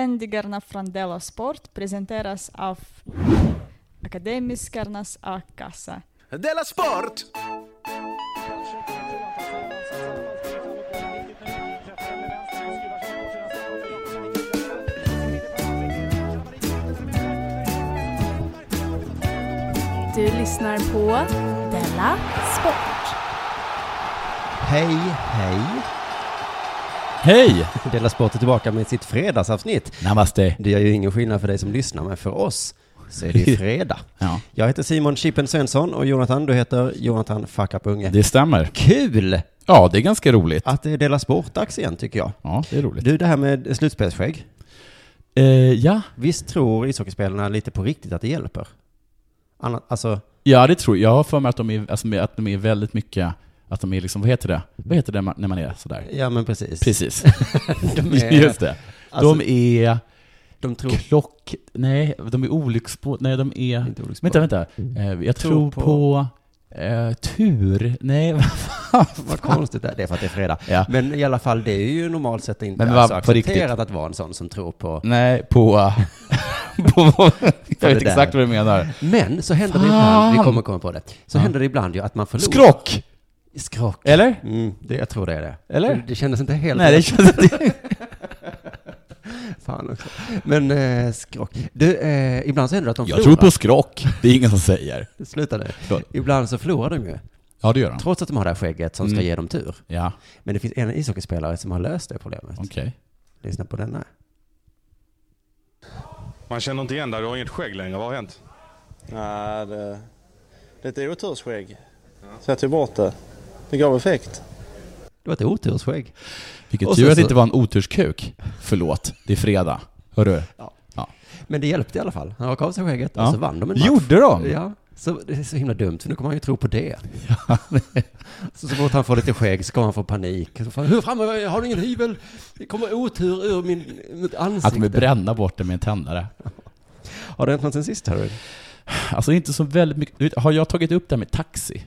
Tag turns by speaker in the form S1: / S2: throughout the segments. S1: Sändningarna från Della Sport presenteras av Akademiskarnas A-kassa.
S2: Della Sport!
S3: Du lyssnar på Della Sport.
S4: Hej, hej!
S5: Hej!
S4: Dela Sport är tillbaka med sitt fredagsavsnitt.
S5: Namaste.
S4: Det gör ju ingen skillnad för dig som lyssnar, men för oss så är det ju fredag.
S5: Ja.
S4: Jag heter Simon Chippen Svensson och Jonathan, du heter Jonathan Fuck Up Unge.
S5: Det stämmer.
S4: Kul
S5: Ja, det är ganska roligt.
S4: att det är Dela Sport-dags igen, tycker jag.
S5: Ja, det är roligt.
S4: Du, det här med slutspelsskägg.
S5: Eh, ja.
S4: Visst tror ishockeyspelarna lite på riktigt att det hjälper? Annat, alltså,
S5: ja, det tror jag. Jag har för mig att de är, alltså, att de är väldigt mycket, att de är liksom, vad heter det? Vad heter det ma- när man är sådär?
S4: ja men precis.
S5: Precis.
S4: De, är,
S5: Just det.
S4: Alltså-
S5: de är
S4: de tror...
S5: Oh. klock... Nej, de är olycksbå... Nej, de är...
S4: Inte olycksbara.
S5: Vänta, vänta. Eh, jag
S4: Tror
S5: tror
S4: på-
S5: på... eh, tur. Nej, vad fan?
S4: Vad konstigt det är, det är för att det är fredag.
S5: Ja.
S4: Men i alla fall, det är ju normalt sett inte
S5: Men vad-
S4: alls
S5: på
S4: accepterat
S5: riktigt?
S4: att vara en sån som tror på
S5: Nej, på... på jag vet
S4: där.
S5: exakt vad du menar.
S4: Men så händer det
S5: Fan!
S4: ibland, vi kommer komma på det, så händer det ibland ju att man förlorar.
S5: Skrock!
S4: Skrock.
S5: Eller?
S4: Mm, det, jag tror det är det.
S5: Eller?
S4: Det, det kändes inte helt
S5: Nej, det känns inte...
S4: Fan också. Men eh, skrock. Du, eh, ibland så händer det att de
S5: Jag tror
S4: förlorar.
S5: på skrock. Det är ingen som säger.
S4: Sluta nu.
S5: Förlåt.
S4: Ibland så förlorar de ju,
S5: Ja, det gör han.
S4: trots att de har det här skägget som ska
S5: Mm.
S4: ge dem tur.
S5: Ja,
S4: Men det finns en ishockeyspelare som har löst det problemet.
S5: okej.
S4: Lyssna på denna.
S6: Man känner inte igen dig, du har inget skägg längre. Vad har hänt?
S7: Nej, det, det är ett otursskägg. Så jag tog bort det. Det gav effekt.
S4: Det var ett otursskägg.
S5: Vilket
S4: Och
S5: tur
S4: sen
S5: att
S4: så-
S5: det inte var en oturskuk. Förlåt, det är fredag. Hörru. Ja.
S4: Men det hjälpte i alla fall. Han rakade av sig skägget och
S5: Ja.
S4: så vann de en match.
S5: Gjorde de?
S4: Ja, så det är så himla dumt, för nu kommer han ju tro på det. så, så fort han får lite skägg så kommer han få panik. Så får han, Hur framme, har du ingen hyvel? Det kommer otur ur min, mitt
S5: Att de vill
S4: ansikte.
S5: bränna bort det med en tändare.
S4: Har det hänt något sen sist, Harry?
S5: Alltså inte så väldigt mycket. Du vet, Har jag tagit upp det här med taxi?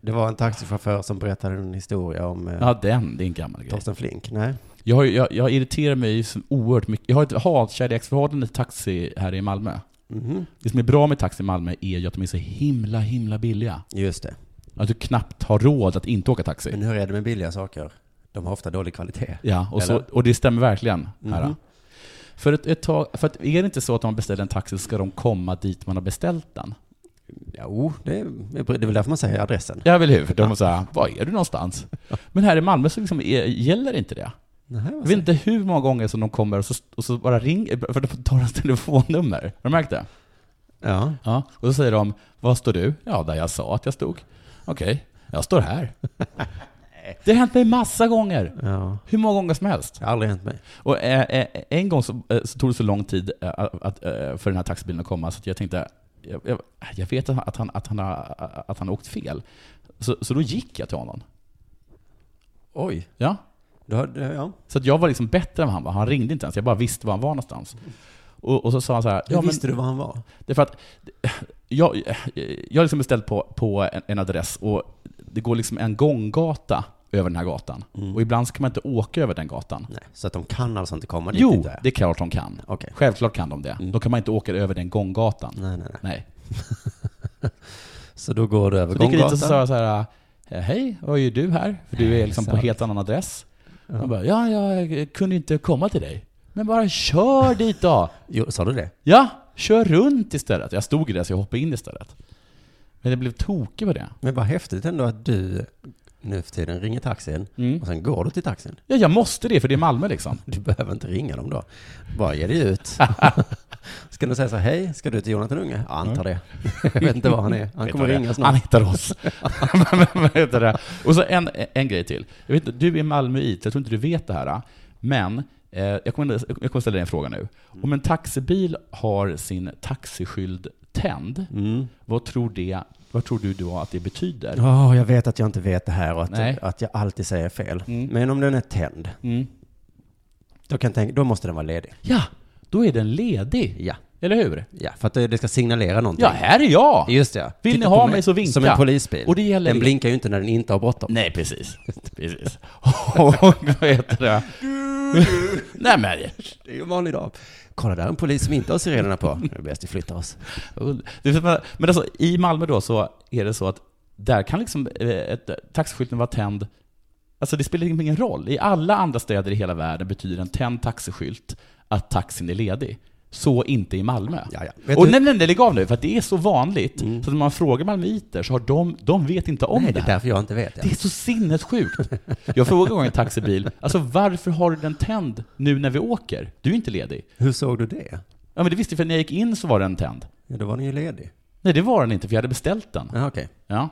S4: Det var en taxichaufför som berättade en historia om eh,
S5: Ja, den. Det är en gammal grej.
S4: Torsten Flink. Nej.
S5: Jag, har ju- jag, jag irriterar mig så oerhört mycket. Jag har ett hatkärleksförhållande till taxi här i Malmö.
S4: Mhm.
S5: Det som är bra med taxi i Malmö är ju att de är så himla, himla billiga.
S4: Just det.
S5: Att du knappt har råd att inte åka taxi.
S4: Men hur är det med billiga saker? De har ofta dålig kvalitet.
S5: Ja, och, så,
S4: Eller?
S5: och det stämmer verkligen. Här.
S4: Mhm.
S5: För, ett, ett tag, för att är det inte så att om man beställer en taxi så ska de komma dit man har beställt den?
S4: Jo, oh, det är, det är väl därför man säger adressen.
S5: Ja, väl hur? För de måste säga, var är du någonstans? Men här i Malmö så liksom är, gäller inte det.
S4: Nej,
S5: Jag vet inte hur många gånger som de kommer och så, och så bara ringer, för de tar hans telefonnummer. Har du märkt det?
S4: Ja.
S5: Ja. Och så säger de, var står du? Ja, där jag sa att jag stod. Okej, jag står här. Det har hänt mig massa gånger.
S4: ja.
S5: Hur många gånger som helst.
S4: Det har aldrig hänt mig.
S5: Och eh, eh, en gång så, eh, så tog det så lång tid eh, att, eh, för den här taxibilen att komma så att jag tänkte, jag, jag, jag vet att han, att, han, att, han har, att han har åkt fel. Så, så då gick jag till honom.
S4: Oj.
S5: Ja?
S4: Du har, ja.
S5: Så att jag var liksom bättre än vad han var. Han ringde inte ens, jag bara visste var han var någonstans. Och, och så sa han så här,
S4: Hur visste du var han var?
S5: Det är för att jag, jag har liksom beställt på, på en, en adress och det går liksom en gånggata över den här gatan.
S4: Mm.
S5: Och ibland så kan man inte åka över den gatan.
S4: Nej, så att de kan alltså inte komma dit?
S5: Jo,
S4: inte?
S5: det är klart de kan.
S4: Okej.
S5: Självklart kan de det. Då kan man inte åka över den gånggatan.
S4: Nej, nej, nej.
S5: Mm. Nej.
S4: Så då går du över
S5: Så gick jag dit och så sa
S4: gånggatan?
S5: jag så här, eh, hej, vad gör du här? För du är liksom på
S4: sant.
S5: helt annan adress. Han bara, ja, jag kunde inte komma till dig. Men bara kör dit då!
S4: Jo, sa du det?
S5: Ja, kör runt istället. Jag stod i det så jag hoppade in istället. Men jag blev tokig på det.
S4: Men vad häftigt ändå att du nu för tiden ringer taxin
S5: Mm.
S4: och sen går du till taxin.
S5: Ja, jag måste det för det är Malmö liksom.
S4: Du behöver inte ringa dem då. Bara ge dig ut. ska du säga så här, hej, ska du till Jonathan Unge? Ja, antar det. jag vet inte var han är. Han kommer
S5: Vet du
S4: ringa
S5: det?
S4: snart.
S5: Han hittar oss. Vad heter det? och så en, en grej till. Jag vet, inte, du är Malmöit, jag tror inte du vet det här. ah. Men eh, jag, kommer, jag kommer ställa dig en fråga nu.
S4: Mm.
S5: Om en taxibil har sin taxiskyld tänd, vad, tror det, vad tror du då att det betyder?
S4: Mm. Ja, jag vet att jag inte vet det här och
S5: Nej.
S4: att, att jag alltid säger fel. Men om den är tänd,
S5: Mm.
S4: då, kan jag tänka, då måste den vara ledig.
S5: Ja, då är den ledig.
S4: Ja,
S5: Eller hur?
S4: ja för att det det ska signalera någonting.
S5: Ja, här är jag!
S4: Just det. ja.
S5: Vill ni
S4: Titta
S5: ha
S4: på
S5: mig så vinka.
S4: Som en polisbil.
S5: Och det gäller
S4: den
S5: er.
S4: blinkar ju inte när den inte har bråttom.
S5: Nej, precis. precis. Och vad heter det? Nej men,
S4: Det är ju en vanlig dag. Kolla, där är en polis som inte har sirenerna på. Det är bäst vi flyttar oss.
S5: det är för- men alltså, i Malmö då så är det så att där kan liksom eh, ett, taxiskylten vara tänd Alltså det spelar ingen roll. I alla andra städer i hela världen betyder en tänd taxiskylt att taxin är ledig. Så inte i Malmö.
S4: Ja, ja. Vet
S5: Och
S4: du- Mm.
S5: nej, nej, nej, lägg av nu, för att det är så vanligt. Så att när man frågar malmöiter så har de, de vet inte om
S4: Nej,
S5: det
S4: det är
S5: här.
S4: därför jag inte vet.
S5: Det är så sinnessjukt. Jag frågade en gång en taxibil, alltså varför har du den tänd nu när vi åker? Du är ju inte ledig.
S4: Hur såg du det?
S5: Ja men det visste jag, för när jag gick in så var den tänd.
S4: Ja, då var ni ju ledig.
S5: Nej det var den inte, för jag hade beställt den.
S4: Ja, okej.
S5: Ja.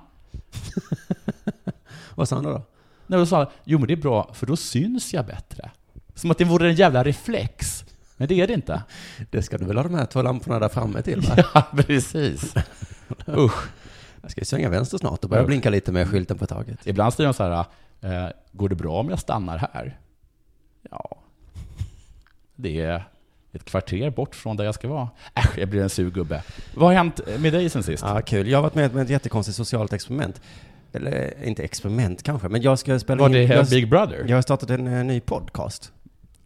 S4: Vad sa han då?
S5: Nej, och då sa han, jo men det är bra, för då syns jag bättre. Som att det vore en jävla reflex. Men det är det inte.
S4: Det ska du väl ha de här två lamporna där framme till, va?
S5: Ja, precis. Usch.
S4: Jag ska ju svänga vänster snart och börja
S5: Ja.
S4: blinka lite med skylten på taget.
S5: Ibland säger de så här, eh, går det bra om jag stannar här? Ja, det är ett kvarter bort från där jag ska vara. Äsch, jag blir en sur gubbe. Vad har hänt med dig sen sist?
S4: Ja, kul. Jag har varit med om ett jättekonstigt socialt experiment. Eller inte experiment kanske, men jag ska spela
S5: Var
S4: in...
S5: det eh,
S4: jag,
S5: Big Brother?
S4: jag har startat en eh, ny podcast.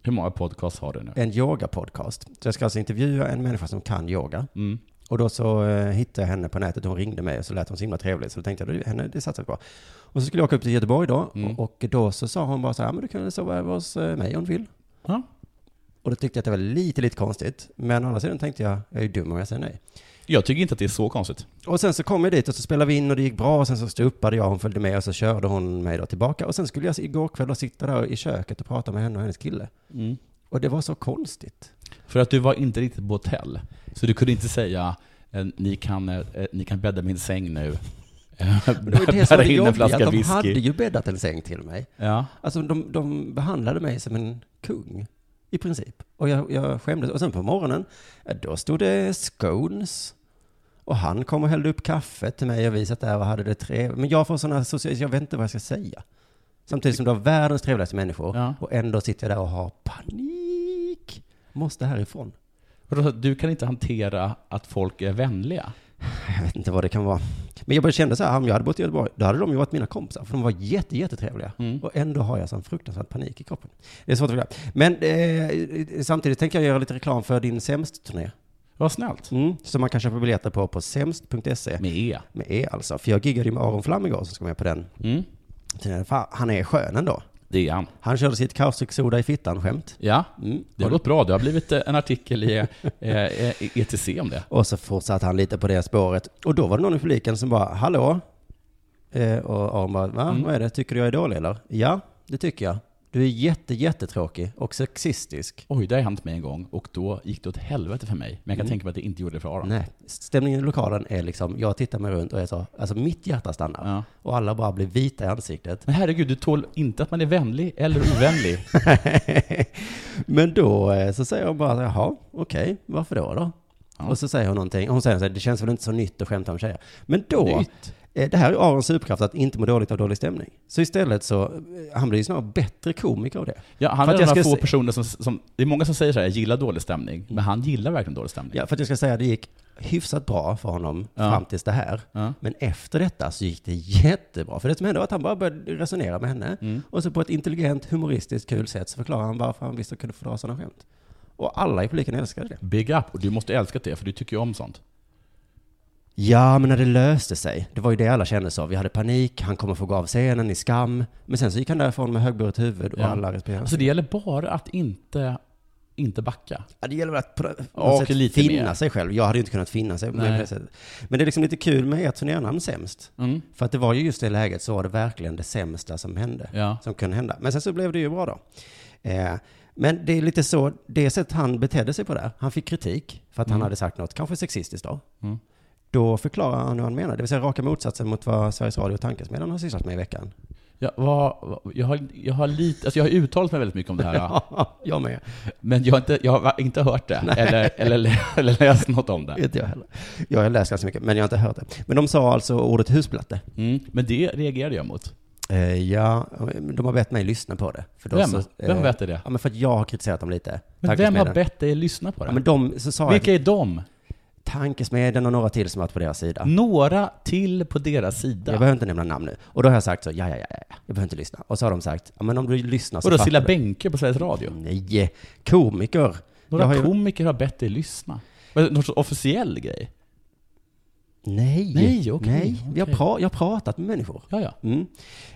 S5: Hur många podcasts har du nu?
S4: En yoga-podcast. Så jag ska alltså intervjua en människa som kan yoga.
S5: Mm.
S4: Och då så eh, hittade jag henne på nätet, hon ringde mig och så lät hon så himla trevlig. Så då tänkte jag, du, henne, det satsar vi på. Och så skulle jag åka upp till Göteborg då.
S5: Mm.
S4: Och, och då så sa hon bara så här, "Ja, men du kan väl sova över hos eh, mig om du vill.
S5: Ja.
S4: Och då tyckte jag att det var lite, lite konstigt. Men å andra sidan tänkte jag, jag är ju dum om jag säger nej.
S5: Jag tycker inte att det är så konstigt.
S4: Och sen så kom jag dit och så spelade vi in och det gick bra och sen så stupade jag, hon följde med och så körde hon mig då tillbaka. Och sen skulle jag igår kväll då sitta där i köket och prata med henne och hennes kille.
S5: Mm.
S4: Och det var så konstigt.
S5: För att du var inte riktigt på hotell. Så du kunde inte säga, eh, ni kan, eh, ni kan bädda min säng nu.
S4: Men Det var ju det som var
S5: Bära
S4: det
S5: in en
S4: jobbiga, att
S5: flaska
S4: de
S5: whisky.
S4: hade ju bäddat en säng till mig.
S5: Ja.
S4: Alltså de, de behandlade mig som en kung, i princip. Och jag, jag skämdes. Och sen på morgonen, ja, då stod det scones. Och han kom och hällde upp kaffe till mig och vi satt där och hade det trevligt. Men jag får sådana sociala, jag vet inte vad jag ska säga. Samtidigt som du har världens trevligaste människor
S5: Ja.
S4: och ändå sitter jag där och har panik. Måste härifrån.
S5: Vadå, Du kan inte hantera att folk är vänliga.
S4: Jag vet inte vad det kan vara. Men jag bara kände så här, om jag hade bott i Göteborg, då hade de ju varit mina kompisar, för de var jätte, jättetrevliga. Och ändå har jag sån fruktansvärd panik i kroppen. Det är svårt att förklara. Men eh, samtidigt tänker jag göra lite reklam för din Sämst-turné.
S5: Vad snällt.
S4: Mm. Som man kan köpa biljetter på på sämst.se.
S5: Med E.
S4: Med E alltså. För jag giggade ju med Aron Flam igår som ska med på den.
S5: Mm.
S4: turnén. Fan, Han är skön ändå.
S5: Det är han.
S4: Han körde sitt kaustiksoda i fittan-skämt.
S5: Ja,
S4: Mm.
S5: det har gått bra. Det har blivit eh, en artikel i eh, eh, ETC om det.
S4: Och så fortsatte han lite på det spåret. Och då var det någon i publiken som bara, hallå? Eh, och Aron bara,
S5: Mm.
S4: Va? vad är det? Tycker du jag är dålig eller? Ja, det tycker jag. Du är jätte, jättetråkig och sexistisk.
S5: Oj, det har hänt mig en gång och då gick det åt helvete för mig. Men jag kan tänka mig att det inte gjorde det för Aron.
S4: Mm. Nej, stämningen i lokalen är liksom, jag tittar mig runt och jag sa, alltså mitt hjärta stannar.
S5: Ja.
S4: Och alla bara blir vita i ansiktet.
S5: Men herregud, du tål inte att man är vänlig eller ovänlig.
S4: Men då eh, så säger hon bara, jaha, okej, varför då då?
S5: Ja.
S4: Och så säger hon någonting, hon säger så här, det känns väl inte så nytt att skämta om tjejer. Men då,
S5: Nytt.
S4: Eh, Det här är Arons superkraft, att inte må dåligt av dålig stämning. Så istället så, eh, han blir ju snarare bättre komiker av det.
S5: Ja, han
S4: För
S5: är
S4: att
S5: en
S4: jag
S5: av de
S4: ska
S5: få
S4: se-
S5: personer som, som... Det är många som säger så här, jag gillar dålig stämning. Men han gillar verkligen dålig stämning.
S4: Ja, för att jag ska säga, det gick hyfsat bra för honom
S5: Ja.
S4: fram tills det här.
S5: Ja.
S4: Men efter detta så gick det jättebra. För det som hände var att han bara började resonera med henne. Och så på ett intelligent, humoristiskt, kul sätt så förklarade han varför han visste att kunde få dra sådana skämt. Och alla i publiken älskade det.
S5: Big up. Och du måste älska det, för du tycker ju om sånt.
S4: Ja, men när det löste sig, det var ju det alla kände så. Vi hade panik, han kommer få gå av scenen i skam. Men sen så gick han därifrån med högburet huvud och
S5: Ja.
S4: alla respekterade
S5: Alltså det gäller bara att inte, inte backa.
S4: Ja, det gäller väl att på något
S5: Och
S4: sätt
S5: lite
S4: finna
S5: mer.
S4: sig själv. Jag hade ju inte kunnat finna sig
S5: Nej.
S4: på det sättet. Men det är liksom lite kul med ert turnernamn Sämst.
S5: Mm.
S4: För att det var ju just det läget så var det verkligen det sämsta som hände.
S5: Ja.
S4: Som kunde hända. Men sen så blev det ju bra då. Eh, men det är lite så, det sätt han betedde sig på där. Han fick kritik för att han hade sagt något, kanske sexistiskt då.
S5: Mm.
S4: Då förklarar han hur han menar. Det vill säga raka motsatsen mot vad Sveriges Radio och Tankesmedjan har sysslat med i veckan.
S5: Jag, vad, vad- jag, har, jag, har lite, alltså jag har uttalat mig väldigt mycket om det här,
S4: jag med.
S5: men jag har inte, jag har inte hört det eller, eller, lä- eller läst något om det.
S4: Inte jag heller. Jag har läst ganska mycket, men jag har inte hört det. Men de sa alltså ordet husplatte.
S5: Mm. Men det reagerade jag mot.
S4: Eh, ja, de har bett mig lyssna på det. För då
S5: Vem?
S4: Så, eh,
S5: Vem har bett dig det?
S4: Ja, men för att jag har kritiserat dem lite.
S5: Men vem
S4: Tankesmedjan.
S5: har bett dig lyssna på
S4: Ja, men
S5: det?
S4: de, så sa
S5: Vilka
S4: jag,
S5: är de?
S4: Tankesmedjan och några till som varit på deras sida.
S5: Några till på deras
S4: Jag
S5: sida.
S4: behöver inte nämna namn nu. Och då har jag sagt så, ja, ja, ja, ja, jag behöver inte lyssna. Och så har de sagt, ja men om du lyssnar så
S5: Och då
S4: alltså, fattar
S5: Silla
S4: du.
S5: Bänke på Sveriges Radio.
S4: Nej, komiker. Jag
S5: Några
S4: har ju-
S5: komiker har bett dig lyssna. Var det Någon sorts officiell grej?
S4: Nej.
S5: Nej, okej,
S4: Nej. Vi har
S5: okej.
S4: pra- jag har pratat med människor.
S5: Ja, ja.
S4: Mm.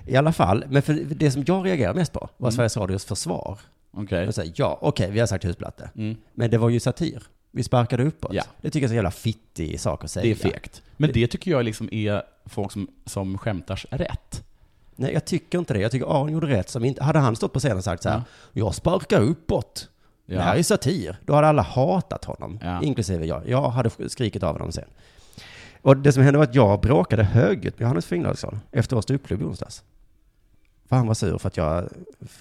S4: I alla fall, men för det som jag reagerar mest på
S5: Mm.
S4: var Sveriges Radios försvar.
S5: Okej.
S4: Jag säger, ja, okej, vi har sagt husplatte.
S5: Mm.
S4: Men det var ju satir. Vi sparkade uppåt.
S5: Ja.
S4: Det tycker jag är så jävla fittig sak att säga.
S5: Det är fegt. Men det tycker jag liksom är folk som, som skämtar rätt.
S4: Nej, jag tycker inte det. Jag tycker Aron gjorde rätt. Som inte, hade han stått på scenen och sagt så här, jag sparkar uppåt.
S5: Ja.
S4: Det här är satir. Då hade alla hatat honom,
S5: Ja.
S4: inklusive jag. Jag hade skrikit av honom sen. Och det som hände var att jag bråkade högljutt med Johannes Finnlaugsson efter vår ståuppklubb i onsdags. För han var sur för att jag,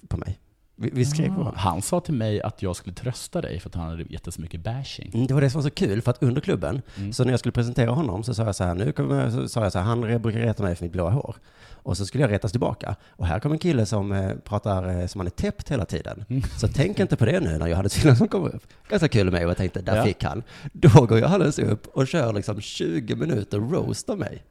S4: på mig. Vi, vi skrev på
S5: Ah.
S4: honom.
S5: Han sa till mig att jag skulle trösta dig för att han hade gett dig så mycket bashing.
S4: Mm, Det var det som var så kul, för att under klubben, så när jag skulle presentera honom så sa jag så här, nu kommer, jag- så sa jag så här, han brukar reta mig för mitt blåa hår. Och så skulle jag retas tillbaka. Och här kom en kille som eh, pratar eh, som han är täppt hela tiden. Så tänk inte på det nu när jag hade killen som kom upp. Ganska kul med mig och jag tänkte, där
S5: Ja.
S4: fick han. Då går jag alldeles upp och kör liksom 20 minuter roast av mig.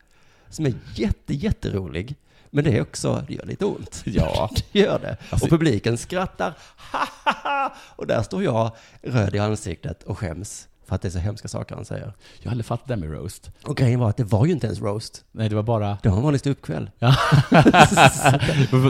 S4: Som är jätte, jätterolig. Men det är också, det gör lite ont.
S5: Ja.
S4: Det gör det.
S5: Alltså-
S4: och publiken skrattar. "Hahaha!" och där står jag röd i ansiktet och skäms för att det är så hemska saker han säger.
S5: Jag har aldrig fattat det här med roast.
S4: Och grejen var att det var ju inte ens roast.
S5: Nej, det var bara...
S4: Det var en vanlig ståuppkväll.
S5: Ja.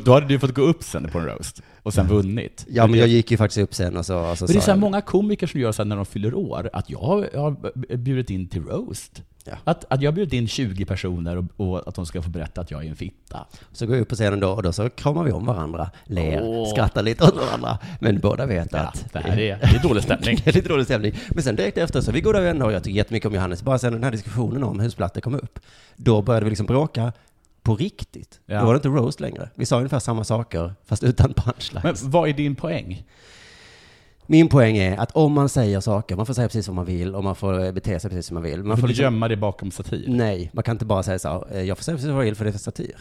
S5: Då hade du fått gå upp sen på en roast och sen vunnit.
S4: Ja, men jag gick ju faktiskt upp sen och så, och så
S5: Men det är
S4: sa
S5: så här
S4: jag-
S5: många komiker som gör så här när de fyller år, att jag har, jag har bjudit in till roast.
S4: Ja.
S5: Att, att jag har bjudit in 20 personer och, och att de ska få berätta att jag är en fitta.
S4: Så går jag upp på scenen då och då så kramar vi om varandra, ler, skrattar lite åt varandra. Men båda vet
S5: Ja,
S4: att
S5: det här är, det är dålig stämning.
S4: Det är lite dålig stämning. Men sen direkt efter så är vi goda vänner och jag tycker jättemycket om Johannes. Bara sen den här diskussionen om husplattor kom upp, då började vi liksom bråka på riktigt.
S5: Ja.
S4: Då var det inte roast längre. Vi sa ungefär samma saker, fast utan punchlines.
S5: Men vad är din poäng?
S4: Min poäng är att om man säger saker, man får säga precis vad man vill och man får eh, bete sig precis som man vill. Man
S5: Får
S4: får
S5: du
S4: liksom,
S5: gömma dig bakom satir?
S4: nej, man kan inte bara säga så här, "Eh, jag får säga precis vad jag vill för det är för satir.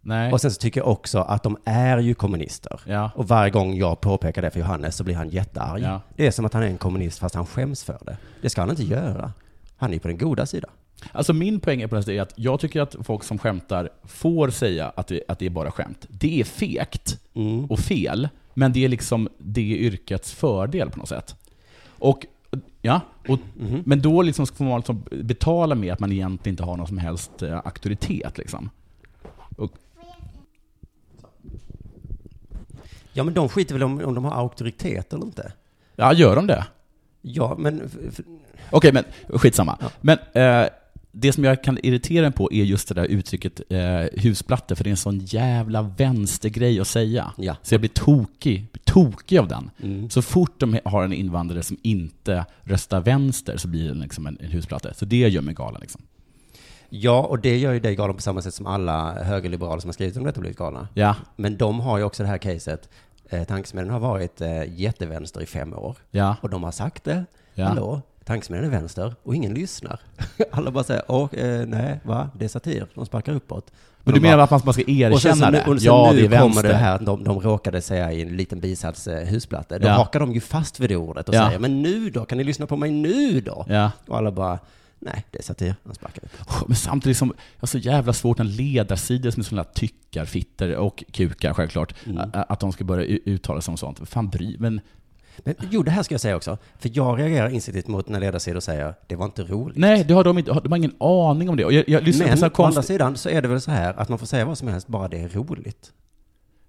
S5: Nej.
S4: Och sen så tycker jag också att de är ju kommunister.
S5: Ja.
S4: Och varje gång jag påpekar det för Johannes så blir han jättearg.
S5: Ja.
S4: Det är som att han är en kommunist fast han skäms för det. Det ska han inte göra. Han är ju på den goda sidan.
S5: Alltså min poäng är på något sätt är att jag tycker att folk som skämtar får säga att det, att det är bara skämt. Det är fegt
S4: Mm.
S5: och fel, men det är liksom det yrkets fördel på något sätt. Och, ja, och, Men då liksom får man liksom betala med att man egentligen inte har någon som helst eh, auktoritet. Liksom. Och,
S4: Ja, men de skiter väl om, om de har auktoritet eller inte.
S5: ja, gör de det?
S4: Ja, men f- f-
S5: Okej, men skitsamma. Men eh, det som jag kan irritera mig på är just det där uttrycket eh, husplatte, för det är en sån jävla vänstergrej att säga.
S4: Ja. Mm.
S5: Så jag blir tokig, blir tokig av den. Så fort de har en invandrare som inte röstar vänster så blir det liksom en, en husplatte. Så det gör mig galen. Liksom.
S4: ja, och det gör ju dig galen på samma sätt som alla högerliberaler som har skrivit om detta blivit galna.
S5: Ja,
S4: Men de har ju också det här caset. Eh, tankesmedjan har varit eh, jättevänster i fem år.
S5: ja.
S4: Och de har sagt det.
S5: Ja.
S4: Hallå, tankesmedjan är vänster och ingen lyssnar. Alla bara säger, åh, eh, nej, va? Det är satir. De sparkar uppåt. Och
S5: Men
S4: de
S5: du menar
S4: bara-
S5: att man- man ska
S4: och sen,
S5: erkänna
S4: så nu,
S5: det?
S4: och sen
S5: Ja,
S4: nu
S5: det är
S4: kommer
S5: vänster.
S4: det här, de, de råkade säga i en liten bisats eh, husplatta. Då
S5: Ja.
S4: hakar de ju fast vid det ordet och
S5: Ja.
S4: säger, men nu då? Kan ni lyssna på mig nu då?
S5: Ja.
S4: Och alla bara, nej, det är satir. De sparkar uppåt.
S5: Åh, Men samtidigt som, jag har så jävla svårt när ledarsidor som är sådana där tyckarfittor och kukar självklart,
S4: Mm.
S5: a- a- att de ska börja u- uttala sig om sånt. Fan bry, men
S4: Men jo, det här ska jag säga också. För jag reagerar instinktivt mot när ledarsidor säger, det var inte roligt.
S5: nej, det har de inte, har- de har ingen aning om det. Och jag, jag lyssnar på
S4: Men
S5: sådana
S4: å andra
S5: konst...
S4: sidan så är det väl så här att man får säga vad som helst bara det är roligt.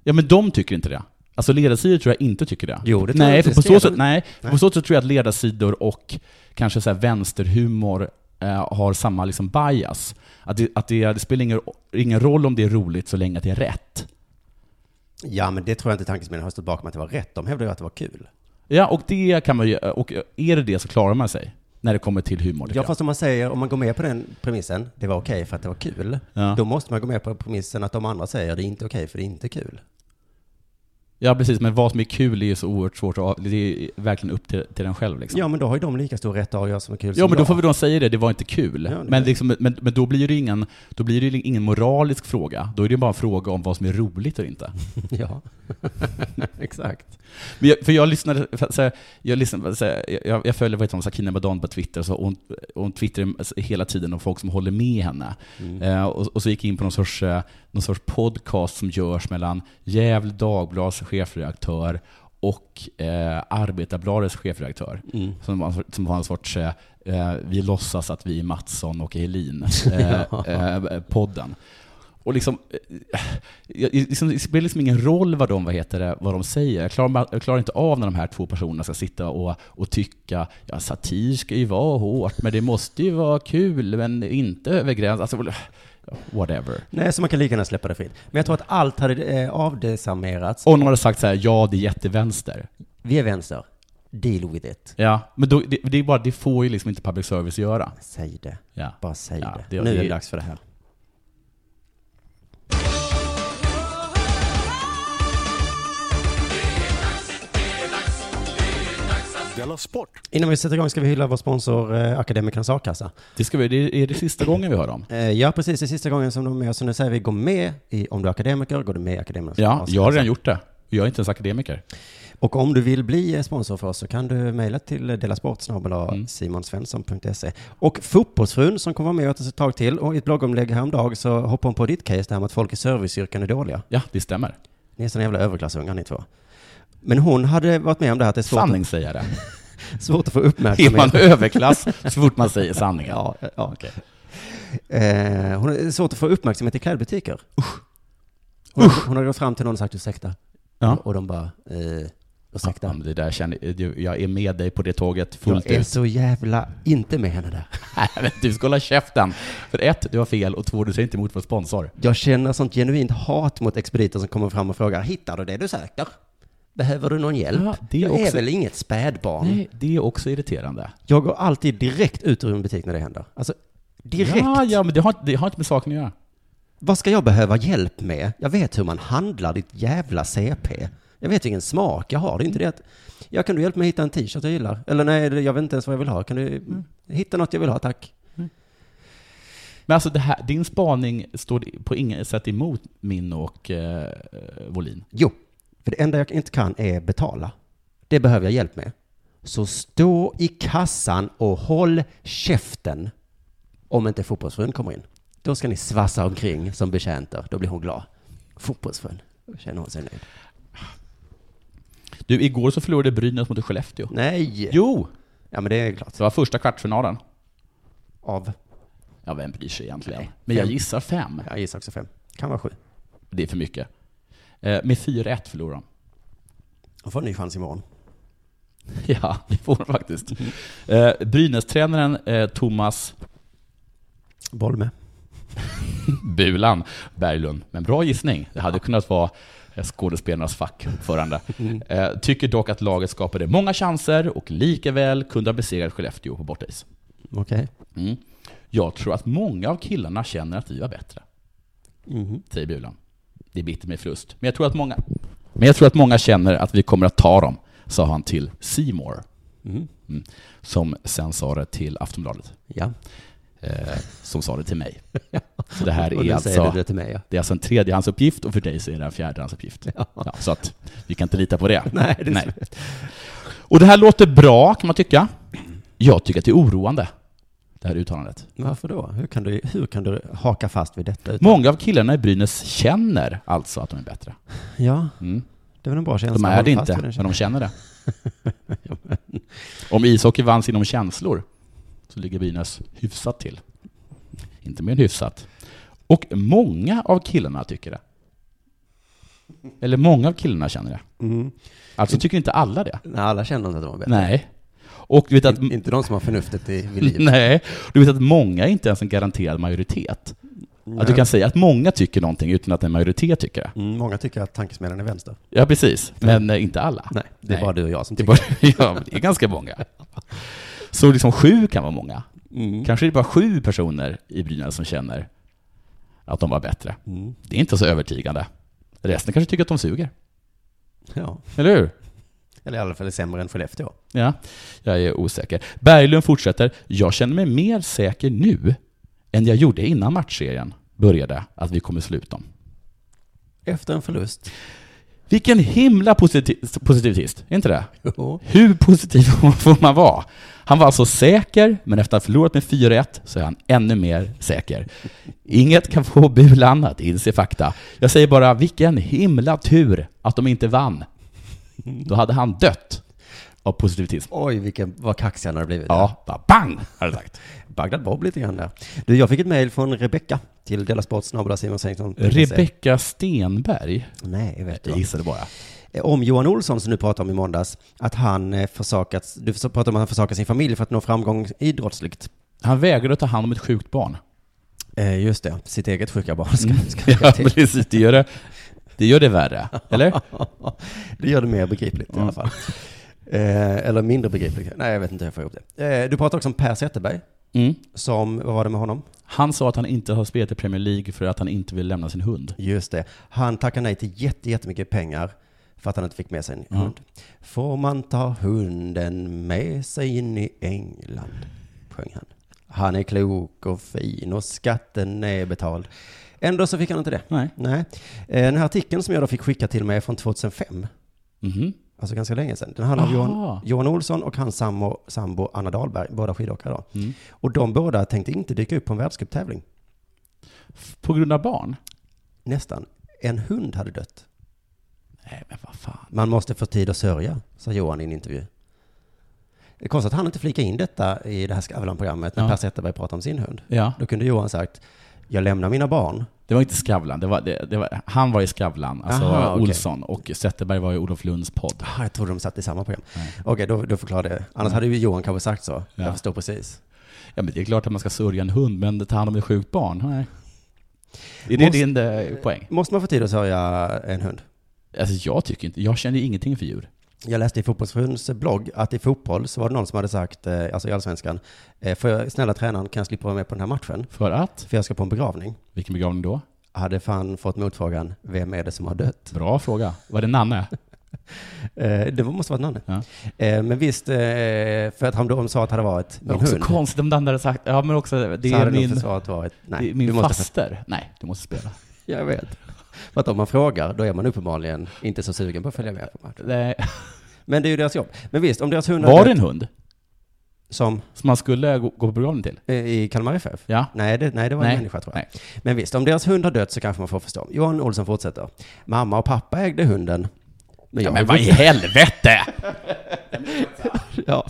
S5: Ja men de tycker inte det. Alltså ledarsidor tror jag inte tycker det.
S4: Jo, det tror
S5: nej,
S4: jag.
S5: för
S4: Det
S5: på
S4: ser
S5: så
S4: de-
S5: sätt, nej,
S4: Nej.
S5: på så sätt tror jag att ledarsidor och kanske så här vänsterhumor eh, har samma liksom bias. Att det, att det, det spelar ingen, ingen roll om det är roligt så länge att det är rätt.
S4: Ja, men det tror jag inte tankesmedjan har stått bakom att det var rätt. De hävdar ju att det var kul.
S5: Ja, och det kan man ju, och är det det så klarar man sig. När det kommer till humor. tycker
S4: Ja,
S5: jag.
S4: fast om man säger, om man går med på den premissen, det var okej för att det var kul,
S5: Ja.
S4: då måste man gå med på premissen att de andra säger det är inte okej för det är inte kul.
S5: Ja, precis. Men vad som är kul är ju så oerhört svårt att av- Det är verkligen upp till, till den själv liksom.
S4: Ja, men då har ju de lika stor rätt att avgöra som är kul
S5: Ja,
S4: som
S5: men då
S4: jag.
S5: får vi då säga det, det var inte kul.
S4: Ja, det-
S5: men, liksom, men, men då blir det ju ingen, då blir det ju ingen moralisk fråga. Då är det bara en fråga om vad som är roligt och inte.
S4: Ja, exakt.
S5: Men jag, för jag lyssnade, för, så här, jag, lyssnade så här, jag, jag följer vad heter hon, Sakina Badan på Twitter, så hon, hon twittrar hela tiden om folk som håller med henne.
S4: Mm.
S5: Eh, och, och så gick jag in på någon sorts, eh, någon sorts podcast som görs mellan Gävle Dagblads chefredaktör och eh, Arbetarbladets chefredaktör.
S4: mm.
S5: Som, var- som var en sorts eh, eh, vi låtsas att vi är Mattsson och Helin eh, eh, podden. Och liksom, eh, jag- liksom, det spelar liksom ingen roll vad de, vad heter det, vad de säger. Jag klarar, jag klarar inte av när de här två personerna ska sitta och, och tycka ja, satir ska ju vara hårt, men det måste ju vara kul, men inte över gräns. Alltså, whatever.
S4: Nej, så man kan lika gärna släppa det fritt. Men jag tror att allt hade eh, avdesamerats.
S5: Om de hade sagt så här, ja det är jättevänster.
S4: Vi är vänster. Deal with it.
S5: Ja, men då, det, det, är bara, det får ju liksom inte public service göra.
S4: Säg det.
S5: Ja.
S4: Bara säg
S5: Ja,
S4: det.
S5: det-
S4: Nu är
S5: det-
S4: det dags för det här.
S2: Della Sport!
S4: Innan vi sätter igång ska vi hylla vår sponsor eh, Akademikernas A-kassa.
S5: Det, ska vi, det är det sista gången vi hör dem.
S4: Eh, ja, precis. Det är sista gången som de är med. Så nu säger vi gå med i, om du är akademiker, går du med i Akademikernas
S5: Ja,
S4: A-kassa.
S5: jag har redan gjort det. Jag är inte ens akademiker.
S4: Och om du vill bli eh, sponsor för oss så kan du mejla till eh,
S5: Mm.
S4: delasportsnabel-simonsvensson.se. Och fotbollsfrun som kommer vara med oss ett tag till och i ett bloggomlägg häromdagen så hoppar hon på ditt case där med att folk i serviceyrken är dåliga.
S5: Ja, det stämmer.
S4: Ni är såna jävla överklassungar ni två. Men hon hade varit med om det här att det är svårt,
S5: Sanningssägare.
S4: svårt att få
S5: Är man
S4: uppmärksamhet.
S5: överklass så fort man säger sanningen?
S4: Ja, ja.
S5: Okej.
S4: Eh, hon är svårt att få uppmärksamhet i klädbutiker. Usch. Hon, hon har gått fram till någon och sagt ursäkta.
S5: Ja.
S4: Och de bara, eh, ursäkta.
S5: Ja, men det där känner, det- jag är med dig på det tåget fullt
S4: jag är
S5: ut.
S4: så jävla inte med henne där.
S5: Nej, men du ska hålla käften. För ett, du har fel och två, du säger inte emot vår sponsor.
S4: Jag känner sånt genuint hat mot expediter som kommer fram och frågar, hittar du det du söker? Behöver du någon hjälp?
S5: Ja, det är
S4: jag är
S5: också-
S4: väl inget spädbarn?
S5: Nej, det är också irriterande.
S4: Jag går alltid direkt ut ur en butik när det händer. Alltså, direkt.
S5: Ja, ja, men det har, det har inte med saken att göra.
S4: Vad ska jag behöva hjälp med? Jag vet hur man handlar ditt jävla CP. Jag vet vilken smak jag har. Det är inte det att... Ja, kan du hjälpa mig hitta en t-shirt jag gillar? Eller nej, jag vet inte ens vad jag vill ha. Kan du
S5: Mm.
S4: hitta något jag vill ha, tack?
S5: Men alltså, det här, din spaning står på inget sätt emot min och eh, Volin.
S4: Jo, för det enda jag inte kan är betala. Det behöver jag hjälp med. Så stå i kassan och håll käften om inte fotbollsfrun kommer in. Då ska ni svassa omkring som betjänter. Då blir hon glad. Fotbollsfrun, då känner hon sig nöjd.
S5: Du, igår så förlorade Brynäs mot Skellefteå.
S4: Nej!
S5: Jo!
S4: Ja, men det är klart.
S5: Det var första kvartsfinalen.
S4: Av.
S5: Ja, vem bryr sig egentligen?
S4: Nej.
S5: Men jag
S4: Fem.
S5: gissar fem.
S4: Jag gissar också fem. Kan vara sju.
S5: Det är för mycket. Eh, med 4-1 förlorar de.
S4: Hon får en ny chans imorgon.
S5: Ja, det får de faktiskt. Eh, Brynäs-tränaren eh, Thomas
S4: Boll med.
S5: Bulan Berglund, men bra gissning. Det hade kunnat vara eh, skådespelarnas fackordförande. Eh, tycker dock att laget skapade många chanser och likaväl kunde ha besegrat Skellefteå på bortais.
S4: Okej.
S5: Mm. Jag tror att många av killarna känner att vi var bättre, säger Bulan. Det bitter mig förlust. Men jag tror att många, men jag tror att många känner att vi kommer att ta dem, sa han till Seymour. Mm. Som sen sa det till Aftonbladet.
S4: Ja.
S5: eh, som sa det till mig. Så det här
S4: Och nu
S5: är
S4: säger du
S5: alltså,
S4: det till mig, ja.
S5: det är alltså en tredjehandsuppgift och för dig så är det en fjärdehandsuppgift. Ja. så att vi kan inte lita på det.
S4: Nej, det är
S5: Och det här låter bra kan man tycka. Jag tycker att det är oroande, det här uttalandet.
S4: Varför då? Hur kan, du, hur kan du haka fast vid detta? Utan...
S5: Många av killarna i Brynäs känner alltså att de är bättre.
S4: Ja,
S5: Mm.
S4: det är väl en bra känsla.
S5: De är
S4: Håll
S5: det
S4: fast
S5: inte,
S4: vid den
S5: men de känner det. Om ishockey vanns inom känslor så ligger Brynäs hyfsat till. Inte mer än hyfsat. Och många av killarna tycker det. Eller många av killarna känner det.
S4: Mm.
S5: Alltså tycker inte alla det.
S4: Nej, alla känner inte att de var bättre.
S5: Nej. Och du vet att...
S4: Mm. In, inte de som har förnuftet i vid liv.
S5: Nej, du vet att många är inte ens en garanterad majoritet. Att du kan säga att många tycker någonting utan att en majoritet tycker det.
S4: Mm, många tycker att tankesmedjan är vänster.
S5: Ja, precis. Men eh, inte alla.
S4: Nej, det är
S5: Nej.
S4: bara du och jag som
S5: Det är,
S4: tycker.
S5: bara, ja, men det är ganska många. Så liksom sju kan vara många.
S4: Mm.
S5: Kanske är det bara sju personer i Brynäs som känner
S4: Mm.
S5: att de var bättre. Det är inte så övertygande. Resten kanske tycker att de suger.
S4: Ja.
S5: Eller hur?
S4: Eller i alla fall sämre än Skellefteå.
S5: Ja, jag är osäker. Berglund fortsätter. Jag känner mig mer säker nu än jag gjorde innan matchserien började att vi kommer sluta om.
S4: Efter en förlust.
S5: Vilken himla positi- positivist, är inte det?
S4: Jo.
S5: Hur positiv får man vara? Han var alltså säker, men efter att ha förlorat med 4-1 så är han ännu mer säker. Inget kan få Bulan att inse fakta. Jag säger bara, vilken himla tur att de inte vann. Då hade han dött av positivism.
S4: Oj, vilken, vad kaxig han hade blivit.
S5: Ja, bara bang, hade jag sagt.
S4: Bagdad Bob lite grann där. Du, jag fick ett mejl från Rebecka till delasport.simonsengtsson.
S5: Rebecka Stenberg.
S4: Nej, vet du
S5: Jag
S4: vad.
S5: gissade bara.
S4: Eh, Om Johan Olsson som du pratade om i måndags, att han eh, försakat, du förs- pratade om att han försakat sin familj för att nå framgång idrottsligt.
S5: Han vägrade att ta hand om ett sjukt barn.
S4: Eh, just det, sitt eget sjuka barn ska, Mm, ska
S5: Mm. Ja,
S4: jag till.
S5: precis. Det gör det, det gör det värre, eller?
S4: Det gör det mer begripligt
S5: Mm.
S4: i alla fall. Eh, eller mindre begripligt. Nej, jag vet inte hur jag får ihop det. Eh, du pratade också om Per Zetterberg,
S5: Mm.
S4: som, vad var det med honom?
S5: Han sa att han inte har spelat i Premier League för att han inte vill lämna sin hund.
S4: Just det. Han tackade nej till jätte, jättemycket pengar för att han inte fick med sig en
S5: Mm.
S4: hund. Får man ta hunden med sig in i England? Sjöng han. Han är klok och fin och skatten är betald. Ändå så fick han inte det.
S5: Nej.
S4: Nej. Eh, Den här artikeln som jag då fick skicka till mig är från 2005.
S5: Mhm.
S4: Alltså ganska länge sedan. Den handlar om Johan,
S5: Aha.
S4: Johan Olsson och hans sambo, sambo Anna Dahlberg, båda skidåkare då.
S5: Mm.
S4: Och de båda tänkte inte dyka upp på en världscuptävling.
S5: På grund av barn?
S4: Nästan. En hund hade dött.
S5: Nej, men vad fan.
S4: Man måste få tid att sörja, sa Johan i en intervju. Det är konstigt att han inte flikade in detta i det här Skavlan-programmet när
S5: Ja.
S4: Per Zetterberg pratade om sin hund.
S5: Ja,
S4: Då kunde Johan sagt, jag lämnar mina barn.
S5: det var inte Skavlan. Det var, det, det var, han var i Skavlan, alltså
S4: Aha, okej.
S5: Olsson, och Zetterberg var i Olof Lunds podd.
S4: Ah, jag trodde de satt i samma program. Okej, då, då förklarar det. Annars hade ju Johan kanske sagt så.
S5: Ja.
S4: Jag förstår precis.
S5: Ja, men det är klart att man ska sörja en hund, men ta hand om ett sjukt barn? Nej. Är det
S4: Måste-
S5: din eh, poäng?
S4: Måste man få tid att sörja en hund?
S5: Alltså, jag tycker inte, jag känner ju ingenting för djur.
S4: Jag läste i Fotbollsförbundets blogg att i fotboll så var det någon som hade sagt, eh, alltså i allsvenskan, eh, får jag, snälla tränaren, kan jag slippa vara med på den här matchen?
S5: För att?
S4: För jag ska på en begravning.
S5: Vilken begravning då?
S4: Hade fan fått motfrågan, vem är det som har dött?
S5: Bra fråga. Var det Nanne?
S4: Eh, Det måste vara Nanne.
S5: Ja.
S4: Eh, Men visst, eh, för att han då sa att det hade varit
S5: Det är
S4: min
S5: också
S4: hund.
S5: konstigt om Nanne hade sagt, ja men också, det
S4: så hade
S5: är
S4: min...
S5: min,
S4: nog försvaret varit, nej,
S5: det är min
S4: du måste
S5: faster. Nej, du måste spela.
S4: för- Jag vet. För att om man frågar, då är man uppenbarligen inte så sugen på att följa med på matchen.
S5: Nej.
S4: Men det är ju deras jobb. Men visst, om deras hund hade
S5: Var det
S4: dött
S5: en hund?
S4: som
S5: Som man skulle gå, gå på begravning till?
S4: eh, i Kalmar FF?
S5: Ja.
S4: Nej, det, nej, det var en
S5: Nej.
S4: människa tror jag.
S5: Nej.
S4: Men visst, om deras hund har dött så kanske man får förstå. Johan Olsson fortsätter. Mamma och pappa ägde hunden. Men jag,
S5: Ja,
S4: har
S5: men
S4: ju
S5: vad i
S4: vuxit,
S5: helvete!
S4: ja.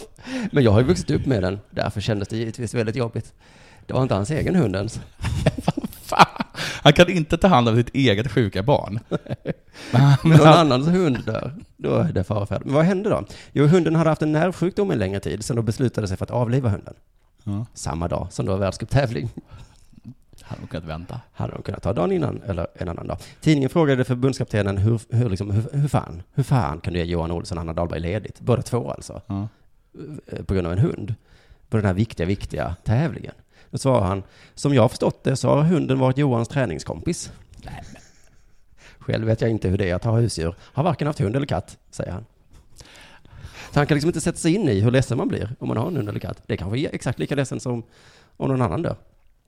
S4: men jag har ju vuxit upp med den. Därför kändes det givetvis väldigt jobbigt. Det var inte hans egen hund ens.
S5: Fan. Han kan inte ta hand om sitt eget sjuka barn.
S4: Men någon annans hund dör, då är det fara för det. Men vad hände då? Jo, hunden hade haft en nervsjukdom en längre tid, så de beslutade sig för att avliva hunden.
S5: Ja.
S4: Samma dag som det var världscuptävling.
S5: Han har kunnat vänta.
S4: Hade de kunnat ta dagen innan eller en annan dag. Tidningen frågade förbundskaptenen hur, hur, liksom, hur, hur fan, hur fan kan du ge Johan Olsson och Anna Dahlberg ledigt? Båda två alltså.
S5: Ja.
S4: Eh, På grund av en hund. På den här viktiga, viktiga tävlingen. Då svarade han, som jag har förstått det så har hunden varit Johans träningskompis. Själv vet jag inte hur det är att ha husdjur. Har varken haft hund eller katt, säger han. Så han kan liksom inte sätta sig in i hur ledsen man blir om man har en hund eller katt. Det kanske är exakt lika ledsen som om någon annan dör.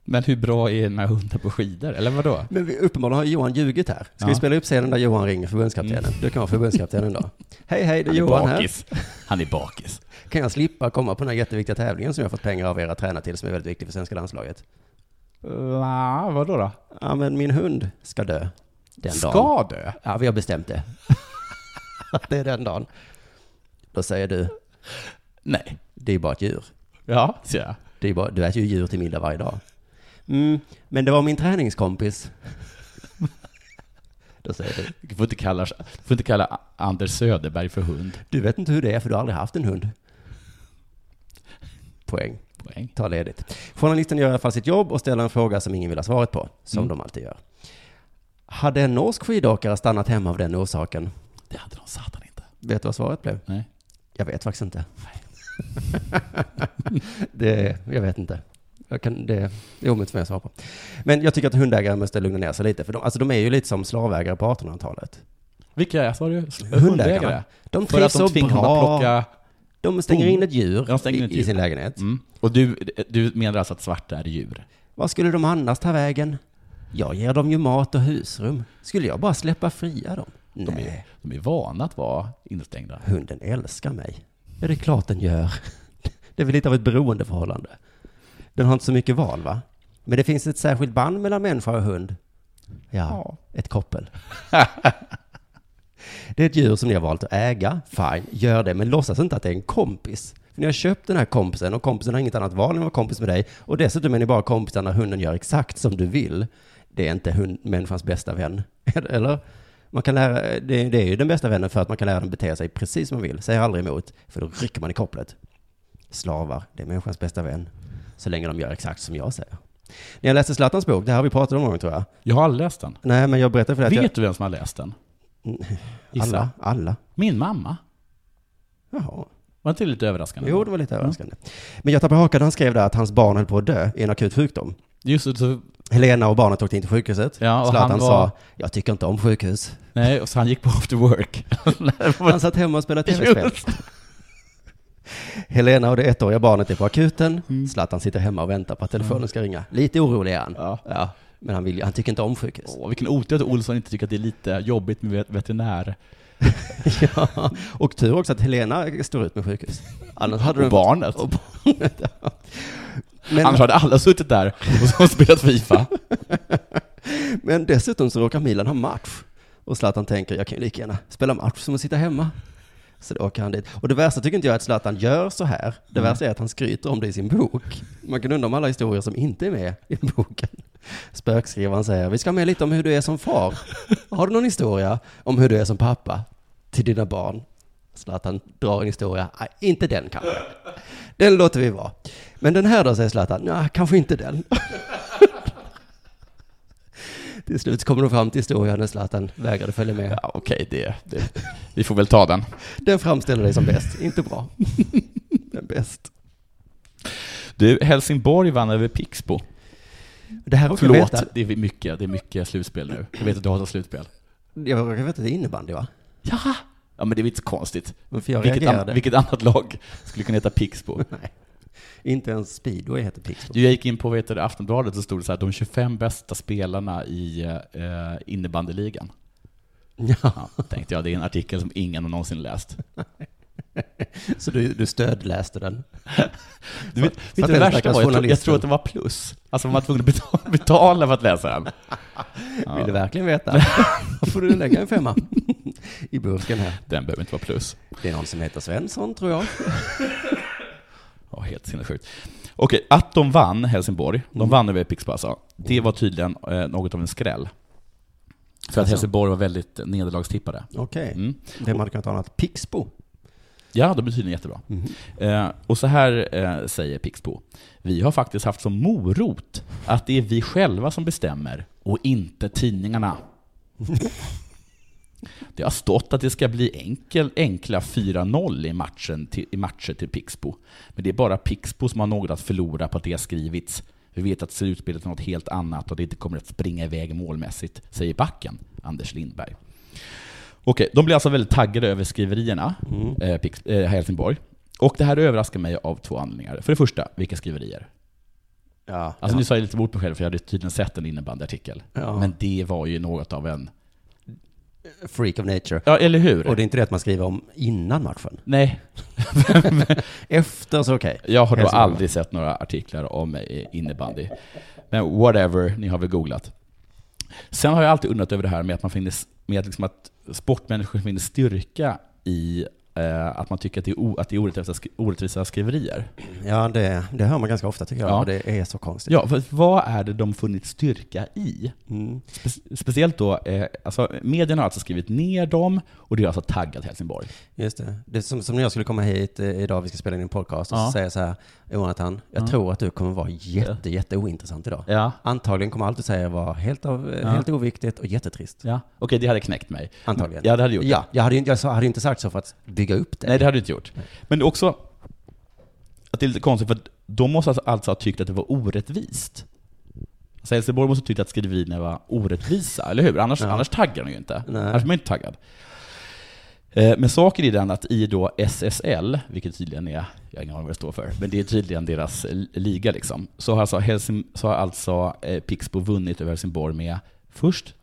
S5: Men hur bra är den här hunden på skidor? Eller vadå?
S4: Men vi, uppenbarligen har Johan ljugit här. Ska
S5: Ja. Mm.
S4: vi spela upp scenen där Johan ringer förbundskaptenen? Du kan vara förbundskaptenen då. Hej, hej, det är Johan här.
S5: bakis. Han är bakis.
S4: Kan jag slippa komma på den här jätteviktiga tävlingen som jag fått pengar av er att träna till, som är väldigt viktig för svenska landslaget?
S5: Nja, vadå då?
S4: Ja, men min hund ska dö. Den dagen.
S5: Ska du?
S4: Ja, vi har bestämt det. Att det är den dagen. Då säger du,
S5: Nej.
S4: det är bara ett djur.
S5: Ja, ser jag.
S4: Det är bara, du äter ju djur till middag varje dag. Mm, men det var min träningskompis. Då säger du,
S5: Du får inte kalla, du får inte kalla Anders Söderberg för hund.
S4: du vet inte hur det är för du har aldrig haft en hund. Poäng.
S5: Poäng.
S4: Ta ledigt. Journalisten gör i alla fall sitt jobb och ställer en fråga som ingen vill ha svaret på, som
S5: Mm.
S4: de alltid gör. Hade en norsk skidåkare stannat hemma av den orsaken?
S5: Det hade de satan inte.
S4: Vet du vad svaret blev?
S5: Nej.
S4: Jag vet faktiskt inte. det, jag vet inte. Jag kan, det, det är omöjligt för mig att svara på. Men jag tycker att hundägare måste lugna ner sig lite, för de, alltså de är ju lite som slavägare på 1800-talet.
S5: Vilka är, sa du?
S4: Hundägare. De
S5: För
S4: trivs
S5: att
S4: så
S5: de tvingar
S4: bra.
S5: att plocka...
S4: De stänger in ett djur,
S5: De stänger in ett
S4: i, i
S5: djur.
S4: sin lägenhet.
S5: Mm. Och du, du menar alltså att svarta är djur?
S4: Vad skulle de annars ta vägen? Jag ger dem ju mat och husrum. Skulle jag bara släppa fria dem?
S5: De är,
S4: Nej,
S5: de är vana att vara instängda.
S4: hunden älskar mig. Ja, det är klart den gör. Det är väl lite av ett beroendeförhållande. Den har inte så mycket val, va? Men det finns ett särskilt band mellan människa och hund. Ja,
S1: Ja.
S4: ett koppel. det är ett djur som ni har valt att äga. Fine, gör det. Men låtsas inte att det är en kompis. För ni har köpt den här kompisen och kompisen har inget annat val än att vara kompis med dig. Och dessutom är ni bara kompisar när hunden gör exakt som du vill. Det är inte hund, människans bästa vän. Eller? Man kan lära, det, det är ju den bästa vännen för att man kan lära den bete sig precis som man vill. Säger aldrig emot, för då rycker man i kopplet. Slavar, det är människans bästa vän. Så länge de gör exakt som jag säger. När jag läste Zlatans bok, det här har vi pratat om någon gång tror jag.
S5: Jag har aldrig läst den.
S4: Nej, men jag berättade för dig
S5: Vet du vem som har läst den?
S4: jag,
S5: Gissa.
S4: alla, alla.
S5: Min mamma.
S4: Jaha.
S5: Var inte det lite överraskande?
S4: Jo, det var lite överraskande. Men Göta på hakan, han skrev där att hans barn höll på att dö i en akut sjukdom.
S5: Just det, så,
S4: Helena och barnet åkte in till sjukhuset.
S5: Ja, och
S4: Zlatan
S5: han var-
S4: sa, jag tycker inte om sjukhus.
S5: nej, och så han gick på after work.
S4: Han satt hemma och spelade tv-spel. Helena och det ettåriga barnet är på akuten.
S5: Mm.
S4: Zlatan sitter hemma och väntar på att telefonen ska ringa. Lite orolig är han.
S5: Ja.
S4: Ja, men han, vill, ju- han tycker inte om sjukhus.
S5: Åh, vilken otur att Olsson inte tycker att det är lite jobbigt med vet- veterinär.
S4: Ja. Och tur också att Helena står ut med sjukhus. Annars hade
S5: Och
S4: de...
S5: barnet.
S4: Men-
S5: Annars hade alla suttit där och så spelat Fifa.
S4: Men dessutom så råkar Milan ha match. Och Zlatan tänker, jag kan ju lika gärna spela match som att sitta hemma. Så då åker han dit. Och det värsta tycker inte jag är att Zlatan gör så här. Det värsta är att han skryter om det i sin bok. Man kan undra om alla historier som inte är med i boken. Spökskrivaren säger, vi ska ha med lite om hur du är som far. Har du någon historia om hur du är som pappa till dina barn? Zlatan drar en historia, nej, inte den kanske. Den låter vi vara. Men den här då, säger Zlatan, nej, kanske inte den. Till slut kommer de fram till historien när Zlatan vägrade följa med.
S5: Ja, okej, det, det, vi får väl ta den.
S4: Den framställer dig som bäst, inte bra. Men bäst.
S5: Du, Helsingborg vann över Pixbo.
S4: Det här råkar jag
S5: Förlåt,
S4: veta.
S5: det är mycket, det är mycket slutspel nu. Jag vet att du hatar slutspel.
S4: Jag råkar veta att det är innebandy va?
S5: Ja, ja men det är väl inte så konstigt.
S4: Men för jag
S5: vilket,
S4: reagerade.
S5: an, vilket annat lag skulle kunna heta Pixbo?
S4: Nej. Inte ens speedway heter Pixbo.
S5: Du, jag gick in på vet du, Aftonbladet så stod det så här, de 25 bästa spelarna i eh, innebandyligan.
S4: Ja,
S5: Ja, tänkte jag, det är en artikel som ingen har någonsin läst.
S4: så du, du stödläste den.
S5: Du vet,
S4: Så
S5: vet
S4: att
S5: du det
S4: den
S5: värsta
S4: stackars
S5: var? Jag, tror- jag
S4: journalisten-
S5: tror att det var plus. Alltså man var tvungen att betala, betala för att läsa den.
S4: Vill du verkligen veta? Då får du lägga en femma i burken här.
S5: Den behöver inte vara plus.
S4: Det är någon som heter Svensson tror jag.
S5: Ja, helt sinnessjukt. Okej, att de vann Helsingborg, de vann över Pixbo alltså, det var tydligen eh, något av en skräll. För att
S4: Alltså.
S5: Helsingborg var väldigt nederlagstippade.
S4: Okej.
S5: Mm.
S4: Det man hade kunnat ana att Pixbo.
S5: Ja, de är tydligen jättebra. Eh, och så här eh, säger Pixbo. Vi har faktiskt haft som morot att det är vi själva som bestämmer och inte tidningarna. Det har stått att det ska bli enkel, enkla 4-0 i, matchen till, i matcher till Pixbo. Men det är bara Pixbo som har något att förlora på att det har skrivits. Vi vet att slutspelet är något helt annat och det inte kommer att springa iväg målmässigt, säger backen Anders Lindberg. Okej, de blir alltså väldigt taggade över skriverierna,
S4: Mm.
S5: eh, Pix, eh, Helsingborg. Och det här överraskar mig av två anledningar. För det första, vilka skriverier?
S4: Ja.
S5: Alltså nu sa jag lite bort mig själv för jag hade tydligen sett en innebandyartikel.
S4: Ja.
S5: Men det var ju något av en...
S4: Freak of nature.
S5: Ja, eller hur?
S4: Och det är inte det att man skriver om innan matchen.
S5: Nej,
S4: Efter så okej.
S5: jag har då
S4: Helsingborg.
S5: aldrig sett några artiklar om eh, innebandy. Men whatever, ni har väl googlat. Sen har jag alltid undrat över det här med att man finner, med att liksom att sportmänniskor finner styrka i eh, att man tycker att det är, o, att det är orättvisa, skri- orättvisa skriverier.
S4: Ja, det, det hör man ganska ofta tycker jag.
S5: Ja.
S4: Och det är så konstigt.
S5: Ja, för vad är det de funnit styrka i?
S4: Mm.
S5: Spe- speciellt då, eh, alltså, medierna har alltså skrivit ner dem och det har alltså taggat Helsingborg.
S4: Just det. det är som, som när jag skulle komma hit eh, idag, vi ska spela in en podcast, och
S5: Ja.
S4: så säger jag så här, Jonathan, jag tror att du kommer vara jätte, jätte ointressant idag.
S5: Ja.
S4: Antagligen kommer allt du säger vara helt, av, eh,
S5: Ja.
S4: helt oviktigt och jättetrist.
S5: ja. Okej, det hade knäckt mig.
S4: Antagligen.
S5: Ja, det hade gjort
S4: Ja, jag hade, ju inte- jag sa- hade ju inte sagt så för att bygga upp det.
S5: Nej, det hade du inte gjort. Men det är också att det är lite konstigt, för att de måste alltså- alltså ha tyckt att det var orättvist. Så Helsingborg måste tycka att skriverierna var orättvisa, eller hur? Annars, annars taggar de ju inte.
S4: Nej.
S5: Annars är man inte taggad. Eh, Men saken är den att i då SSL, vilket tydligen är, jag har ingen aning vad det står för, men det är tydligen deras l- liga liksom, så har alltså, Helsing, så har alltså eh, Pixbo vunnit över Helsingborg med först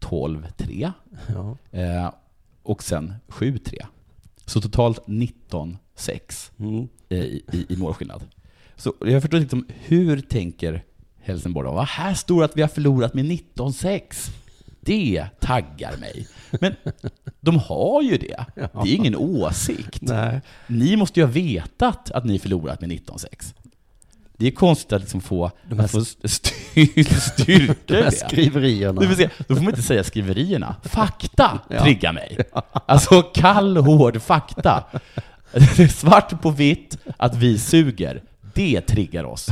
S5: 12-3
S4: Ja.
S5: eh, och sen 7-3. Så totalt 19-6
S4: Mm.
S5: i, i, i målskillnad. Så jag förstår inte liksom, hur tänker Helsingborg då? Va, här står det att vi har förlorat med 19-6. Det taggar mig. Men de har ju det. Det är ingen åsikt.
S4: Nej.
S5: Ni måste ju ha vetat att ni förlorat med 19-6. Det är konstigt att liksom få,
S4: här
S5: att få styr, styrka
S4: De här
S5: det.
S4: skriverierna.
S5: Du får se, då får man inte säga skriverierna. Fakta triggar mig. Alltså kall, hård fakta. Det är Svart på vitt att vi suger. Det triggar oss.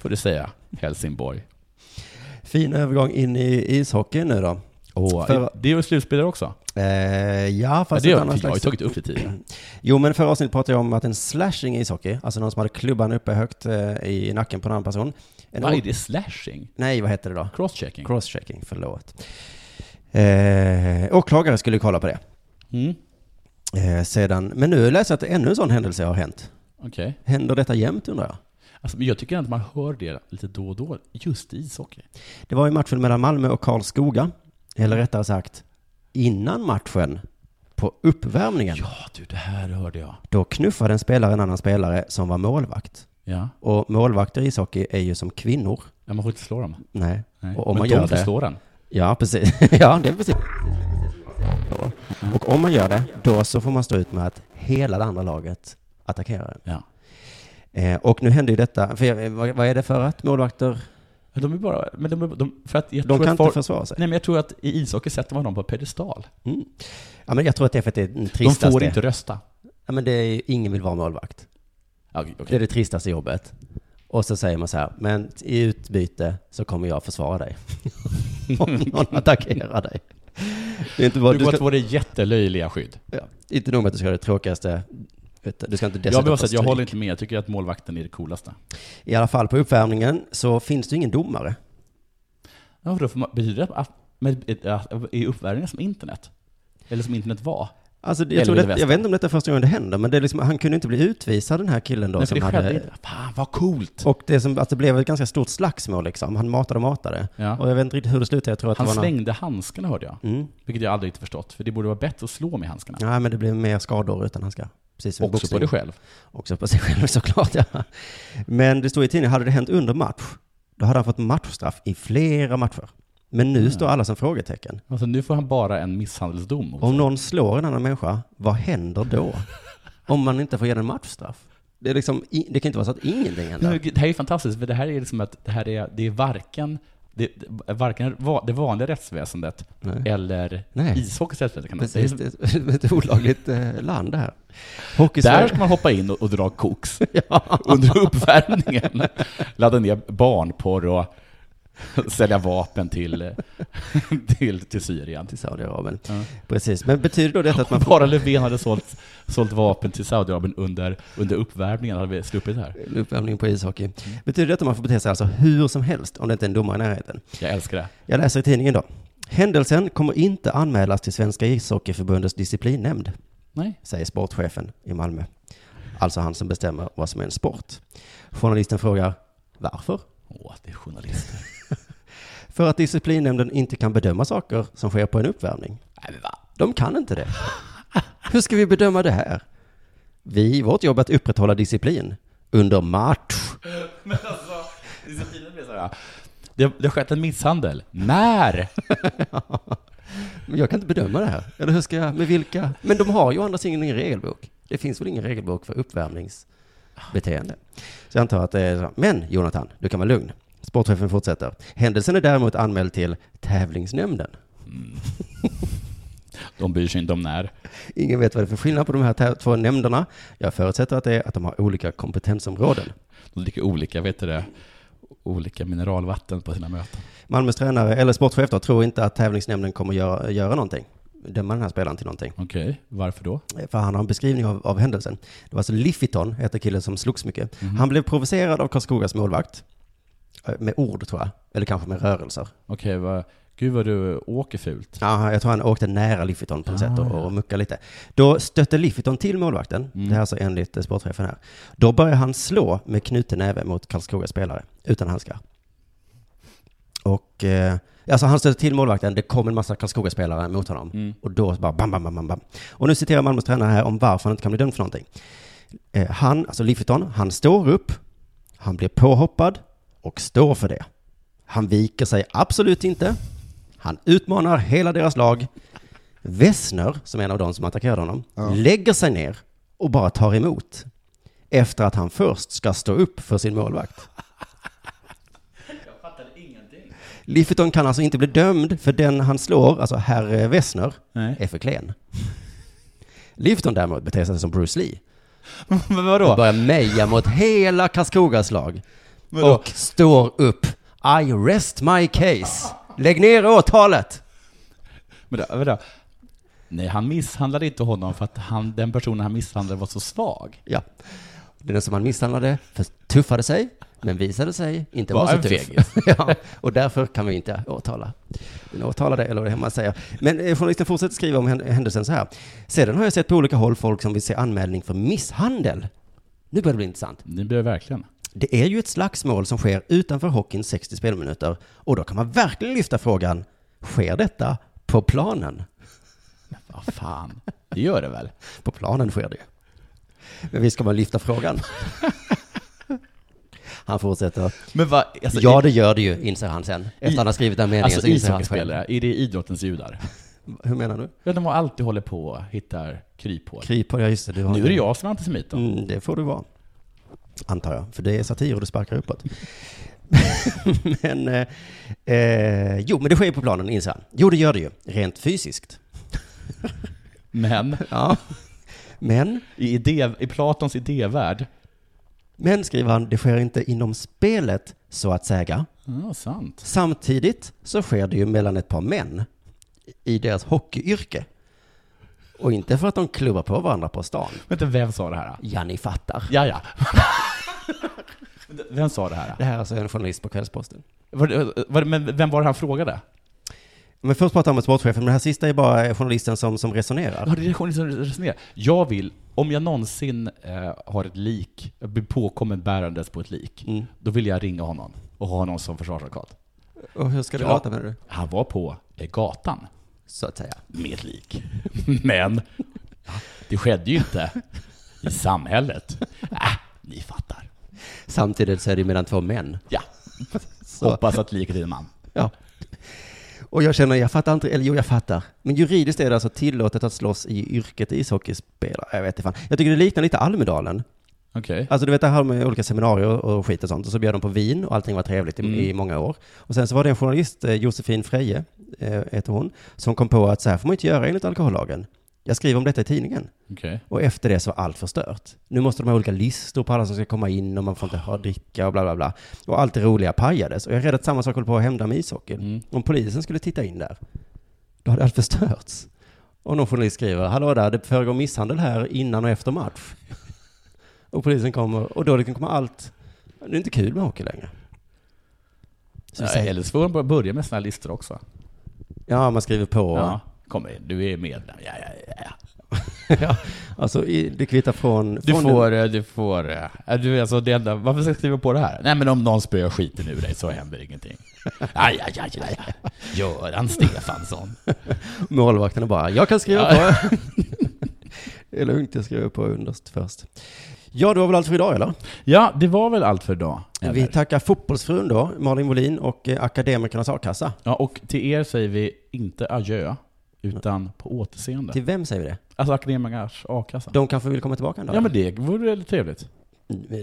S5: Får du säga Helsingborg.
S4: Fin övergång in i ishockeyn nu då.
S5: Och
S4: För-
S5: det är ju slutspelare också.
S4: Eh, ja,
S5: Ja,
S4: fast
S5: det
S4: ett
S5: har
S4: annat
S5: jag, jag har ju
S4: slags-
S5: tagit upp det tidigare.
S4: Jo, men förra avsnittet pratade jag om att en slashing i ishockey, alltså någon som hade klubban uppe högt eh, i nacken på en annan person. En
S5: Vad
S4: o-
S5: är det? Slashing?
S4: Nej, vad heter det då?
S5: Crosschecking?
S4: Crosschecking, förlåt. Eh, åklagare skulle kolla på det.
S5: Mm.
S4: Eh, sedan, men nu läser jag att ännu en sån händelse har hänt.
S5: Okej.
S4: Händer detta jämt undrar jag?
S5: Alltså, men jag tycker att man hör det lite då och då, just i ishockey.
S4: Det var ju matchen mellan Malmö och Karlskoga. Eller rättare sagt, innan matchen, på uppvärmningen,
S5: Ja, du, det här hörde jag.
S4: då knuffade en spelare en annan spelare som var målvakt.
S5: Ja.
S4: Och målvakter i ishockey är ju som kvinnor.
S5: ja man får inte slå dem.
S4: Nej.
S5: Nej.
S4: Och om
S5: men
S4: man
S5: de
S4: gör
S5: får
S4: det...
S5: slå den.
S4: Ja, precis. ja, det är precis. Ja. Och om man gör det, då så får man stå ut med att hela det andra laget attackerar en.
S5: Ja.
S4: Eh, och nu hände ju detta, för jag, vad, vad är det för att målvakter,
S5: Men de är bara... Men de, är- de, för att jag
S4: de
S5: tror
S4: kan
S5: att folk,
S4: inte försvara sig?
S5: Nej, men jag tror att i ishockey sätter man dem på pedestal.
S4: Mm. Ja, men jag tror att det är för att det är den
S5: De
S4: tristaste.
S5: får inte rösta.
S4: Ja, men det är ju, ingen vill vara målvakt.
S5: Okej,
S4: Det är
S5: okej.
S4: det tristaste jobbet. Och så säger man så här, men i utbyte så kommer jag försvara dig. Om någon attackerar dig. Det är inte bara,
S5: Du
S4: du
S5: går till
S4: ska,
S5: våra jättelöjliga skydd.
S4: ja, inte nog med att du ska ha det tråkigaste, vet du, du ska inte
S5: Jag,
S4: dessutom få
S5: behöver säga, att jag
S4: stryk.
S5: håller inte med. Jag tycker att målvakten är det coolaste.
S4: I alla fall på uppvärmningen så finns det ju ingen domare.
S5: Ja, vadå, för man, betyder det att, men, att- är uppvärmningen som internet? Eller som internet var?
S4: Alltså, jag,
S5: Eller
S4: tror
S5: vilda
S4: det, jag vet inte om detta är första gången det händer, men det är liksom, han kunde inte bli utvisad den här killen då.
S5: Nej, för
S4: som
S5: det
S4: hade,
S5: skedde inte. Fan, vad coolt!
S4: Och det, som, att det blev ett ganska stort slagsmål liksom. Han matade och matade.
S5: Ja.
S4: Och jag vet inte riktigt hur det slutade. Jag tror att
S5: Han
S4: det var någon-
S5: slängde handskarna hörde jag.
S4: Mm.
S5: Vilket jag aldrig riktigt förstått. För det borde vara bättre att slå med handskarna.
S4: Nej, men det blev mer skador utan handskar. Precis som i
S5: Också på
S4: boxning.
S5: dig själv.
S4: Också på sig själv såklart, ja. Men det står i tidningen, hade det hänt under match, då hade han fått matchstraff i flera matcher. Men
S5: Mm.
S4: nu står alla som frågetecken.
S5: Alltså, nu får han bara en misshandelsdom. mot
S4: Om
S5: sig.
S4: någon slår en annan människa, vad händer då? Om man inte får ge den matchstraff? Det, är liksom, i- det kan inte vara så att ingenting
S5: Nej,
S4: händer.
S5: men det här är ju fantastiskt, för det här är liksom att det här är, det är varken det, det- varken va- det vanliga rättsväsendet
S4: Nej.
S5: eller
S4: Nej.
S5: ishockeyns rättsväsende. Kan man säga.
S4: Precis, det är ett olagligt eh, land det här. Hockey
S5: Där ska man hoppa in och, och dra koks
S4: ja.
S5: under uppvärmningen. Ladda ner barnporr och sälja vapen till, till, till Syrien.
S4: till Saudiarabien.
S5: Ja.
S4: Precis, men betyder då detta att man får...
S5: Bara Löfven hade sålt, sålt vapen till Saudiarabien under, under uppvärmningen hade vi sluppit det här.
S4: Uppvärmning på ishockey.
S5: Mm.
S4: Betyder detta att man får bete sig alltså hur som helst om det inte är en domare i närheten?
S5: Jag älskar det.
S4: Jag läser i tidningen då. Händelsen kommer inte anmälas till Svenska ishockeyförbundets disciplinnämnd,
S5: Nej.
S4: säger sportchefen i Malmö. Alltså han som bestämmer vad som är en sport. Journalisten frågar varför?
S5: Åh, det är journalister.
S4: För att disciplinnämnden inte kan bedöma saker som sker på en uppvärmning. De kan inte det. Hur ska vi bedöma det här? Vi, vårt jobb är att upprätthålla disciplin under match.
S5: Men alltså, det är så fint att bli så här. Det, det har skett en misshandel. När?
S4: Men jag kan inte bedöma det här. Eller hur ska jag, med vilka? Men de har ju å andra sidan ingen regelbok. Det finns väl ingen regelbok för uppvärmningsbeteende. Så jag antar att det är så. Men Jonathan, du kan vara lugn. Sportchefen fortsätter. Händelsen är däremot anmäld till tävlingsnämnden.
S5: De bryr sig inte om när.
S4: Ingen vet vad det är för skillnad på de här tä- två nämnderna. Jag förutsätter att det är att de har olika kompetensområden.
S5: De dricker olika, vet du det, olika mineralvatten på sina möten.
S4: Malmös tränare, eller sportchef då, tror inte att tävlingsnämnden kommer göra, göra någonting. Döma den här spelaren till någonting.
S5: Okej, varför då?
S4: för han har en beskrivning av, av händelsen. Det var alltså Liffiton, heter killen som slogs mycket. Han blev provocerad av Karlskogas målvakt. Med ord tror jag. Eller kanske med rörelser.
S5: Okej, vad, gud vad du åker fult.
S4: Ja, jag tror han åkte nära Liffiton på något sätt och, och muckade lite. Då stötte Liffiton till målvakten, det här är alltså enligt eh, sportchefen här. Då började han slå med knuten näve mot Karlskogas spelare, utan handskar. Och, eh, alltså han stötte till målvakten, det kom en massa Karlskoga-spelare mot honom. Och då bara bam, bam, bam, bam, bam. Och nu citerar Malmös tränare här om varför han inte kan bli dömd för någonting. Eh, han, alltså Liffiton, han står upp, han blir påhoppad och står för det. Han viker sig absolut inte. Han utmanar hela deras lag. Wessner, som är en av de som attackerade honom, lägger sig ner och bara tar emot. Efter att han först ska stå upp för sin målvakt. Lifferton kan alltså inte bli dömd för den han slår, alltså herr Wessner,
S5: Nej.
S4: är för klen. Lifferton däremot beter sig som Bruce Lee.
S5: Men
S4: Och
S5: vadå?
S4: börjar meja mot hela Karlskogas lag.
S5: Vadå?
S4: Och står upp. I rest my case. Lägg ner åtalet.
S5: Men då, vadå? Nej, han misshandlade inte honom för att han, den personen han misshandlade var så svag.
S4: Ja. Den som han misshandlade tuffade sig, men visade sig inte
S5: Var
S4: vara så
S5: en
S4: tuff. ja, och därför kan vi inte åtala den åtalade, eller vad det är man säger. Men eh, journalisten fortsätter skriva om hän- händelsen så här. Sedan har jag sett på olika håll folk som vill se anmälning för misshandel. Nu börjar det bli intressant.
S5: Det blir verkligen.
S4: Det är ju ett slagsmål som sker utanför hockeyns 60 spelminuter och då kan man verkligen lyfta frågan, sker detta på planen?
S5: Vad fan, det gör det väl?
S4: På planen sker det ju. Men vi ska bara lyfta frågan. Han fortsätter.
S5: Men vad, alltså,
S4: ja, det gör det ju, inser han sen. Efter han har skrivit den meningen
S5: alltså
S4: så inser han
S5: ishockeyspelare,
S4: själv.
S5: är det idrottens judar?
S4: Hur menar du?
S5: Ja, de har alltid håller på och hittar kryphål.
S4: Kryper, ja just det. Du har
S5: Nu är det jag som är antisemit då.
S4: Mm, det får du vara. Antar jag, för det är satir och det sparkar uppåt. men, eh, eh, jo, men det sker ju på planen, inser han. Jo, det gör det ju, rent fysiskt.
S5: Men
S4: Ja. Men,
S5: i, idé, i Platons idévärld,
S4: men, skriver han, det sker inte inom spelet, så att säga.
S5: ja, sant.
S4: Samtidigt så sker det ju mellan ett par män i deras hockeyyrke. Och inte för att de klubbar på varandra på stan.
S5: Vänta, vem sa det här? då?
S4: Ja, ni fattar.
S5: Ja, ja. Vem sa det här?
S4: Det
S5: då?
S4: här är alltså en journalist på Kvällsposten.
S5: Var, det- var, det- men vem var det han frågade?
S4: Men först pratar han med sportchefen, men det här sista är bara journalisten som, som resonerar.
S5: Ja, det är journalisten som resonerar. Jag vill, om jag någonsin eh, har ett lik, blir påkommen bärandes på ett lik,
S4: Mm.
S5: då vill jag ringa honom och ha honom som försvarsadvokat.
S4: Och hur ska det
S5: Ja.
S4: låta menar du?
S5: Han var på eh, gatan
S4: Så att säga.
S5: med ett lik. Men det skedde ju inte i samhället. Äh, ni fattar.
S4: Samtidigt så är det ju mellan två män.
S5: Ja.
S4: Så.
S5: Hoppas att liket är en man.
S4: Ja. Och jag känner, jag fattar inte, eller jo jag fattar. Men juridiskt är det alltså tillåtet att slåss i yrket ishockeyspelare. Jag vet inte fan. Jag tycker det liknar lite Almedalen.
S5: Okej.
S4: Alltså du vet det här med olika seminarier och skit och sånt. Och så bjöd de på vin och allting var trevligt i, i många år. Och sen så var det en journalist, eh, Josefin Freje, eh, heter hon, som kom på att så här får man inte göra enligt alkohollagen. Jag skriver om detta i tidningen.
S5: Okej.
S4: Och efter det så var allt förstört. Nu måste de ha olika listor på alla som ska komma in och man får inte ha dricka och bla bla bla. Och allt det roliga pajades. Och jag är rädd att samma sak håller på att hända med ishockeyn.
S5: Mm.
S4: Om polisen skulle titta in där, då hade allt förstörts. Och någon journalist skriver, hallå där, det föregår misshandel här innan och efter match. och polisen kommer, och då liksom kommer allt, det är inte kul med hockey längre. Så vi
S5: Nej,
S4: säger,
S5: Eller så får de bara börja med såna här listor också.
S4: ja, man skriver på.
S5: Ja. Kom igen, du är medlem. Ja, ja, ja, ja.
S4: ja. Alltså, i- det kvittar från...
S5: Du
S4: från
S5: får, eh, du får, eh, eh, du är alltså det enda, varför ska jag skriva på det här? Nej men om någon spöar skiten ur dig så händer ingenting. Aj, aj, aj, aj, aj. Göran Stefansson.
S4: Målvakterna bara, jag kan skriva på. det är lugnt, jag skriver på underst först. Ja, det var väl allt för idag eller?
S5: Ja, det var väl allt för idag. eller?
S4: Vi tackar fotbollsfrun då, Malin Molin och eh, Akademikernas A-kassa.
S5: Ja, och till er säger vi inte adjö, utan på återseende.
S4: Till vem säger vi det?
S5: Alltså akademikers a-kassa.
S4: De kanske vill komma tillbaka en dag?
S5: Ja men det vore väl trevligt.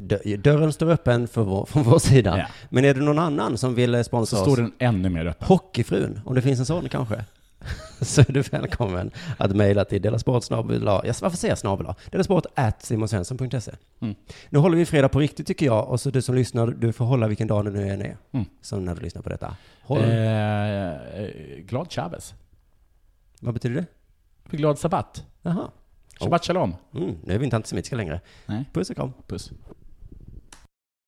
S4: D- Dörren står öppen för vår, från vår sida.
S5: Ja.
S4: Men är det någon annan som vill eh,
S5: Så
S4: sponsra
S5: står
S4: oss?
S5: den ännu mer öppen.
S4: Hockeyfrun, om det finns en sån kanske. Så är du välkommen att mejla till delasport snabel A. Jag- Varför säger jag snabel A? Delasport at simonsvensson.se.
S5: Mm.
S4: Nu håller vi fredag på riktigt tycker jag. Och så du som lyssnar, du får hålla vilken dag det nu än är.
S5: Mm.
S4: Som när du lyssnar på detta. Håll.
S5: Eh, eh, glad Chavez.
S4: Vad betyder det?
S5: Glad sabbat.
S4: Jaha.
S5: Shabbat shalom.
S4: Oh. Mm, nu är vi inte antisemitiska längre.
S5: Nej.
S4: Puss och kram.
S5: Puss.